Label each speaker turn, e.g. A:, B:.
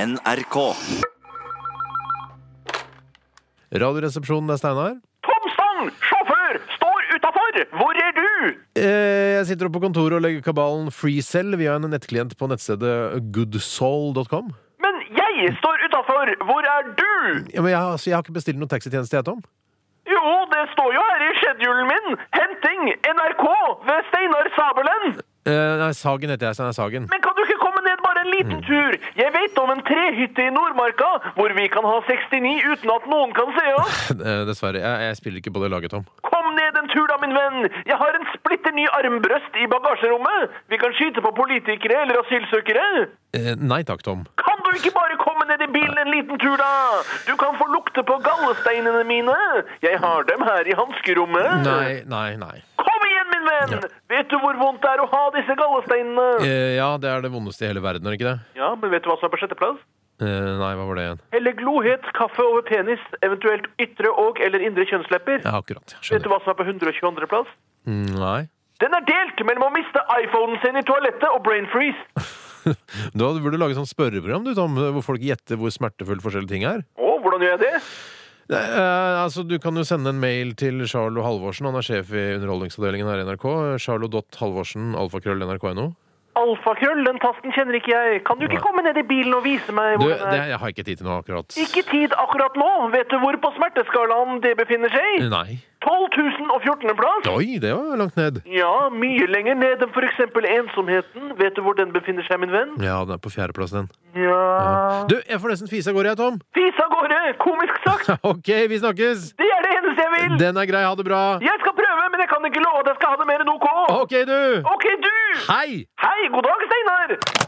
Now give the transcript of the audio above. A: NRK.
B: Radioresepsjonen, det er Steinar.
C: Thomsson, sjåfør, står utafor! Hvor er du?
B: Eh, Jeg sitter oppe på kontoret og legger kabalen FreeCell via en nettklient på nettstedet goodsoul.com.
C: Men jeg står utafor! Hvor er du?
B: Ja, men jeg, har- altså, jeg har ikke bestilt noen taxitjeneste, jeg, Tom.
C: Jo, det står jo her i schedulen min! Henting NRK ved Steinar Sabelen!
B: Eh, nei, Sagen heter jeg. Steinar Sagen.
C: Men kan du ikke komme ned bare en liten tur? Jeg vet om en trehytte i Nordmarka hvor vi kan ha 69 uten at noen kan se oss.
B: Eh, Dessverre. Jeg, jeg spiller ikke på det laget, Tom.
C: Kom ned en tur da, min venn. Jeg har en splitter ny armbrøst i bagasjerommet. Vi kan skyte på politikere eller asylsøkere.
B: Eh, Nei takk, Tom.
C: Kan du ikke bare komme ned i bilen en liten tur, da? Du kan få lukte på gallesteinene mine. Jeg har dem her i hanskerommet.
B: Nei, nei, nei.
C: Kom igjen, min venn! Vet du hvor vondt det er å ha disse gallesteinene?
B: Eh, Ja, det er det vondeste i hele verden, er det ikke det?
C: Ja, men vet du hva som er på sjetteplass?
B: Eh, Nei, hva var det igjen?
C: Helle glohet kaffe over penis, eventuelt ytre og eller indre kjønnslepper.
B: Ja, akkurat. Jeg
C: Vet du
B: skjønner.
C: hva som er på 122. plass?
B: Mm, Nei.
C: Den er delt mellom å miste iPhonen sin i toalettet og brain freeze.
B: Du hadde- burde lage sånn spørreprogram, du, Tom, hvor folk gjetter hvor smertefull forskjellige ting er.
C: Å, hvordan gjør jeg det?
B: Nei, eh, altså Du kan jo sende en mail til Charlo Halvorsen. Han er sjef i Underholdningsavdelingen her i NRK. Charlo.halvorsen, alfakrøll, nrk.no.
C: Alfakrøll, den tasten kjenner ikke jeg. Kan du ikke komme ned i bilen og vise meg
B: Du,
C: hvor
B: det,
C: den er?
B: jeg har ikke tid til noe akkurat.
C: Ikke tid akkurat nå. Vet du hvor på smerteskalaen det befinner seg?
B: Nei.
C: 12.014. plass.
B: Oi, det var langt ned.
C: Ja, mye lenger ned enn for eksempel ensomheten. Vet du hvor den befinner seg, min venn?
B: Ja, den er på fjerdeplass, den.
C: Ja...
B: Du, jeg får nesten fise av gårde, jeg, Tom.
C: Fis av gårde, komisk sagt.
B: OK, vi snakkes!
C: Det er det eneste jeg vil.
B: Den er grei. Ha det bra.
C: Jeg skal prøve, men jeg kan ikke love at jeg skal ha det mer enn OK.
B: OK, du!
C: OK, du.
B: Hei!
C: Hei, god dag, Steinar.